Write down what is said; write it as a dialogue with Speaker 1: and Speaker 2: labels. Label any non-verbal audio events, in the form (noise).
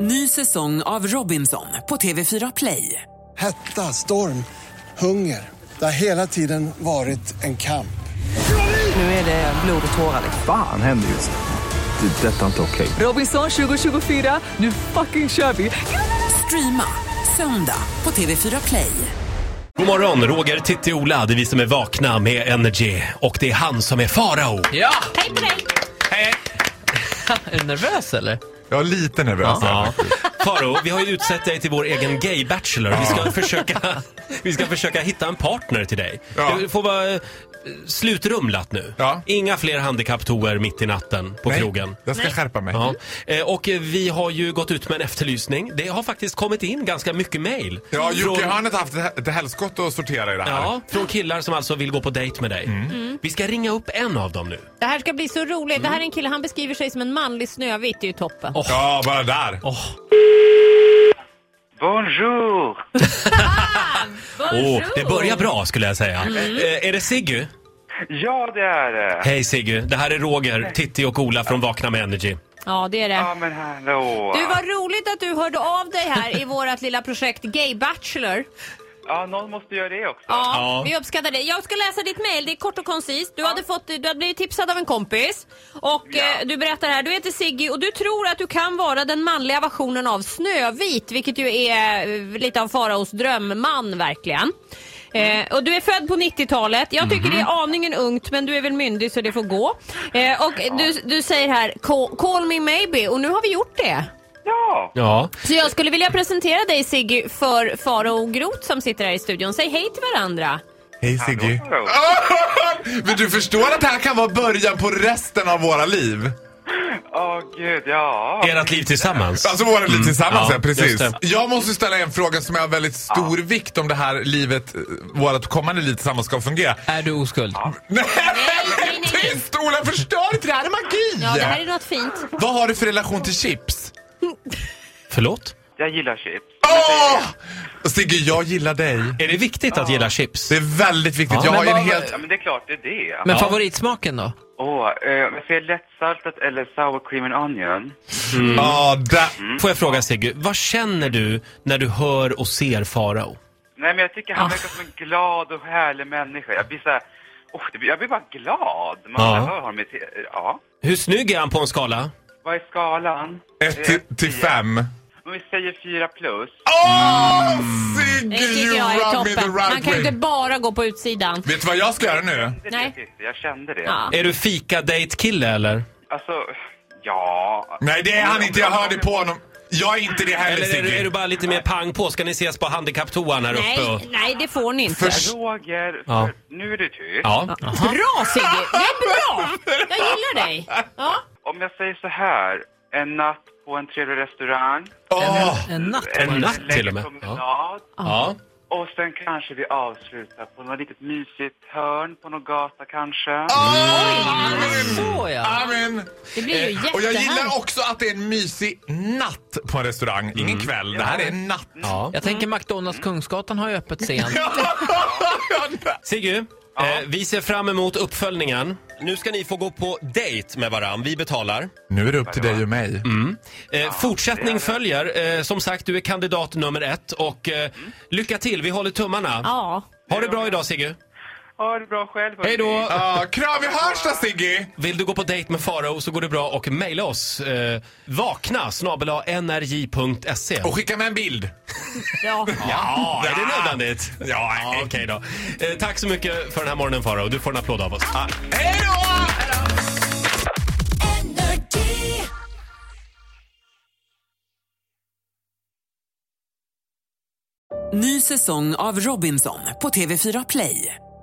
Speaker 1: Ny säsong av Robinson på TV4 Play.
Speaker 2: Hetta, storm, hunger. Det har hela tiden varit en kamp.
Speaker 1: Nu är det blod och tårar.
Speaker 3: Fan händer just nu. Det. är Detta är inte okej.
Speaker 1: Robinson 2024, nu fucking kör vi! Streama söndag på TV4 Play.
Speaker 4: God morgon, Roger, Titti, Ola. Det är vi som är vakna med Energy. Och det är han som är farao.
Speaker 5: Ja! Hej på dig! Hej! Är du nervös eller?
Speaker 6: Jag är lite nervös.
Speaker 4: Ja. Farao, vi har ju utsett dig till vår egen gay-bachelor. Vi, ska försöka, vi ska försöka hitta en partner till dig.
Speaker 6: Ja.
Speaker 4: Du får vara eh, slutrumlat nu.
Speaker 6: Ja.
Speaker 4: Inga fler handikapptoer mitt i natten på
Speaker 6: Nej,
Speaker 4: krogen.
Speaker 6: Jag ska skärpa mig.
Speaker 4: Ja. Eh, Och eh, vi har ju gått ut med en efterlysning. Det har faktiskt kommit in ganska mycket mejl.
Speaker 6: Ja, Jocke
Speaker 4: från,
Speaker 6: han har haft ett- ett helskott att sortera i det här.
Speaker 4: ja, från killar som alltså vill gå på dejt med dig.
Speaker 6: Mm.
Speaker 4: Vi ska ringa upp en av dem nu.
Speaker 5: Det här ska bli så roligt. Det
Speaker 4: Mm.
Speaker 5: här är en kille, han beskriver sig som en manlig Snövit. Det är ju toppen.
Speaker 6: Ja, bara där.
Speaker 4: Åh.
Speaker 7: Bonjour!
Speaker 4: Åh, det börjar bra skulle jag säga. Eh, är det Siggy?
Speaker 7: Ja, det är det.
Speaker 4: Hej Siggy, det här är Roger, Titti och Ola från Vakna med Energy.
Speaker 5: Ja, det är
Speaker 7: Ja,
Speaker 5: det.
Speaker 7: men hallå.
Speaker 5: Du, vad roligt att du hörde av dig här i vårt lilla projekt Gay Bachelor.
Speaker 7: Ja, någon måste göra det också.
Speaker 5: Ja,
Speaker 4: Ja.
Speaker 5: vi uppskattar dig. Jag ska läsa ditt mejl, det är kort och koncist. Du, hade fått, du hade blivit tipsad av en kompis och eh, du berättar här, du heter Siggy och du tror att du kan vara den manliga versionen av Snövit, vilket ju är eh, lite av Faraos drömman verkligen. Eh, och du är född på 90-talet. Jag tycker det är aningen ungt men du är väl myndig så det får gå. Eh, och du, du säger här call, call me maybe och nu har vi gjort det.
Speaker 7: Ja,
Speaker 4: Ja.
Speaker 5: Så jag skulle vilja presentera dig Siggy för Farao Groth som sitter här i studion. Säg hej till varandra.
Speaker 6: Hej Siggy.
Speaker 7: hallå.
Speaker 6: (laughs) Men du förstår att det här kan vara början på resten av våra liv?
Speaker 7: Åh, gud, ja.
Speaker 4: Ert liv tillsammans.
Speaker 6: Alltså våra liv
Speaker 4: Mm.
Speaker 6: tillsammans,
Speaker 4: ja,
Speaker 6: ja, precis.
Speaker 4: just det.
Speaker 6: Jag måste ställa en fråga som är av väldigt stor vikt om det här livet, eh, vårt kommande liv tillsammans ska fungera. (laughs)
Speaker 8: Är du oskuld?
Speaker 6: Nej,
Speaker 5: nej, nej.
Speaker 6: tyst Ola! Förstör inte det här, är magi!
Speaker 5: Ja, det här är något fint.
Speaker 6: Vad har du för relation till chips?
Speaker 4: Förlåt?
Speaker 7: Jag gillar chips.
Speaker 6: Åh! Sigge, jag gillar dig.
Speaker 4: Är det viktigt att gilla chips?
Speaker 6: Det är väldigt viktigt. jag
Speaker 8: men
Speaker 6: har ju en
Speaker 8: vad-
Speaker 6: helt...
Speaker 7: Ja, men det är klart det är det.
Speaker 8: Men favoritsmaken då?
Speaker 7: Åh, eh, men ska jag lättsaltat eller sour cream and onion?
Speaker 4: Mm.
Speaker 6: Ja, där.
Speaker 4: Får jag fråga Siggy, vad känner du när du hör och ser Farao?
Speaker 7: Nej, men jag tycker
Speaker 6: Ah.
Speaker 7: han verkar som en glad och härlig människa. Jag blir så här... åh, det blir- jag blir bara glad. Man
Speaker 4: Ja.
Speaker 7: hör honom i te- Ja.
Speaker 4: Hur snygg är han på en skala?
Speaker 7: Vad är skalan?
Speaker 6: Ett till, till fem.
Speaker 7: Om vi säger fyra plus.
Speaker 6: Ah. Åh,
Speaker 5: Det
Speaker 6: Sigge,
Speaker 5: tycker
Speaker 6: you
Speaker 5: jag är
Speaker 6: rub me the
Speaker 5: toppen. Man kan
Speaker 6: right
Speaker 5: ju
Speaker 6: way.
Speaker 5: inte bara gå på utsidan.
Speaker 6: Vet du vad jag ska göra nu?
Speaker 7: Det
Speaker 5: Nej.
Speaker 7: är det jag tyckte. Jag kände det.
Speaker 5: Ja.
Speaker 4: Är du fika date kille eller?
Speaker 7: Alltså, ja...
Speaker 6: Nej, det är han inte. Jag hörde på honom. Jag är inte det heller,
Speaker 4: Eller är du, är du
Speaker 6: Sigge.
Speaker 4: bara lite mer pang på? Ska ni ses på handikapptoan här uppe? och-
Speaker 5: Nej, nej, det får ni inte.
Speaker 6: Förs-
Speaker 7: Roger,
Speaker 4: Ja.
Speaker 7: för nu är du tyst.
Speaker 4: Ja.
Speaker 5: Bra Sigge! Det är bra! Jag gillar dig. Ja.
Speaker 7: Om jag säger så här, en natt på en trevlig restaurang,
Speaker 6: Åh,
Speaker 8: En natt?
Speaker 4: En natt till och med. Ja.
Speaker 7: promenad
Speaker 4: ja.
Speaker 7: och sen kanske vi avslutar på något litet mysigt hörn på någon gata kanske.
Speaker 8: Så ja.
Speaker 6: amen.
Speaker 5: Det blir ju
Speaker 6: Eh, Och jag gillar
Speaker 5: jättehärligt.
Speaker 6: också att det är en mysig natt på en restaurang. Ingen kväll. Det här är en natt. (laughs)
Speaker 4: ja.
Speaker 8: Jag tänker McDonalds Kungsgatan har ju öppet sent.
Speaker 4: Siggy, eh, vi ser fram emot uppföljningen. Nu ska ni få gå på dejt med varann. Vi betalar.
Speaker 6: Nu är det upp till dig och mig.
Speaker 4: Eh, fortsättning följer. Eh, som sagt, du är kandidat nummer ett. Och eh, lycka till, vi håller tummarna.
Speaker 5: Ja.
Speaker 4: Ha det bra idag Sigge.
Speaker 7: Ha det bra själv. hörni.
Speaker 4: Hej då!
Speaker 6: Ja, kram, vi hörs då, Sigge!
Speaker 4: Vill du gå på dejt med Farao så går det bra och mejla oss. Eh, vakna snabel-a nrj.se.
Speaker 6: Och skicka med en bild.
Speaker 5: ja.
Speaker 4: e. Ja, är det nödvändigt? Ja, okej då. Eh, tack så mycket för den här morgonen Farao. Du får en applåd av oss.
Speaker 6: Hej då!
Speaker 1: Ny säsong av Robinson på TV4 Play.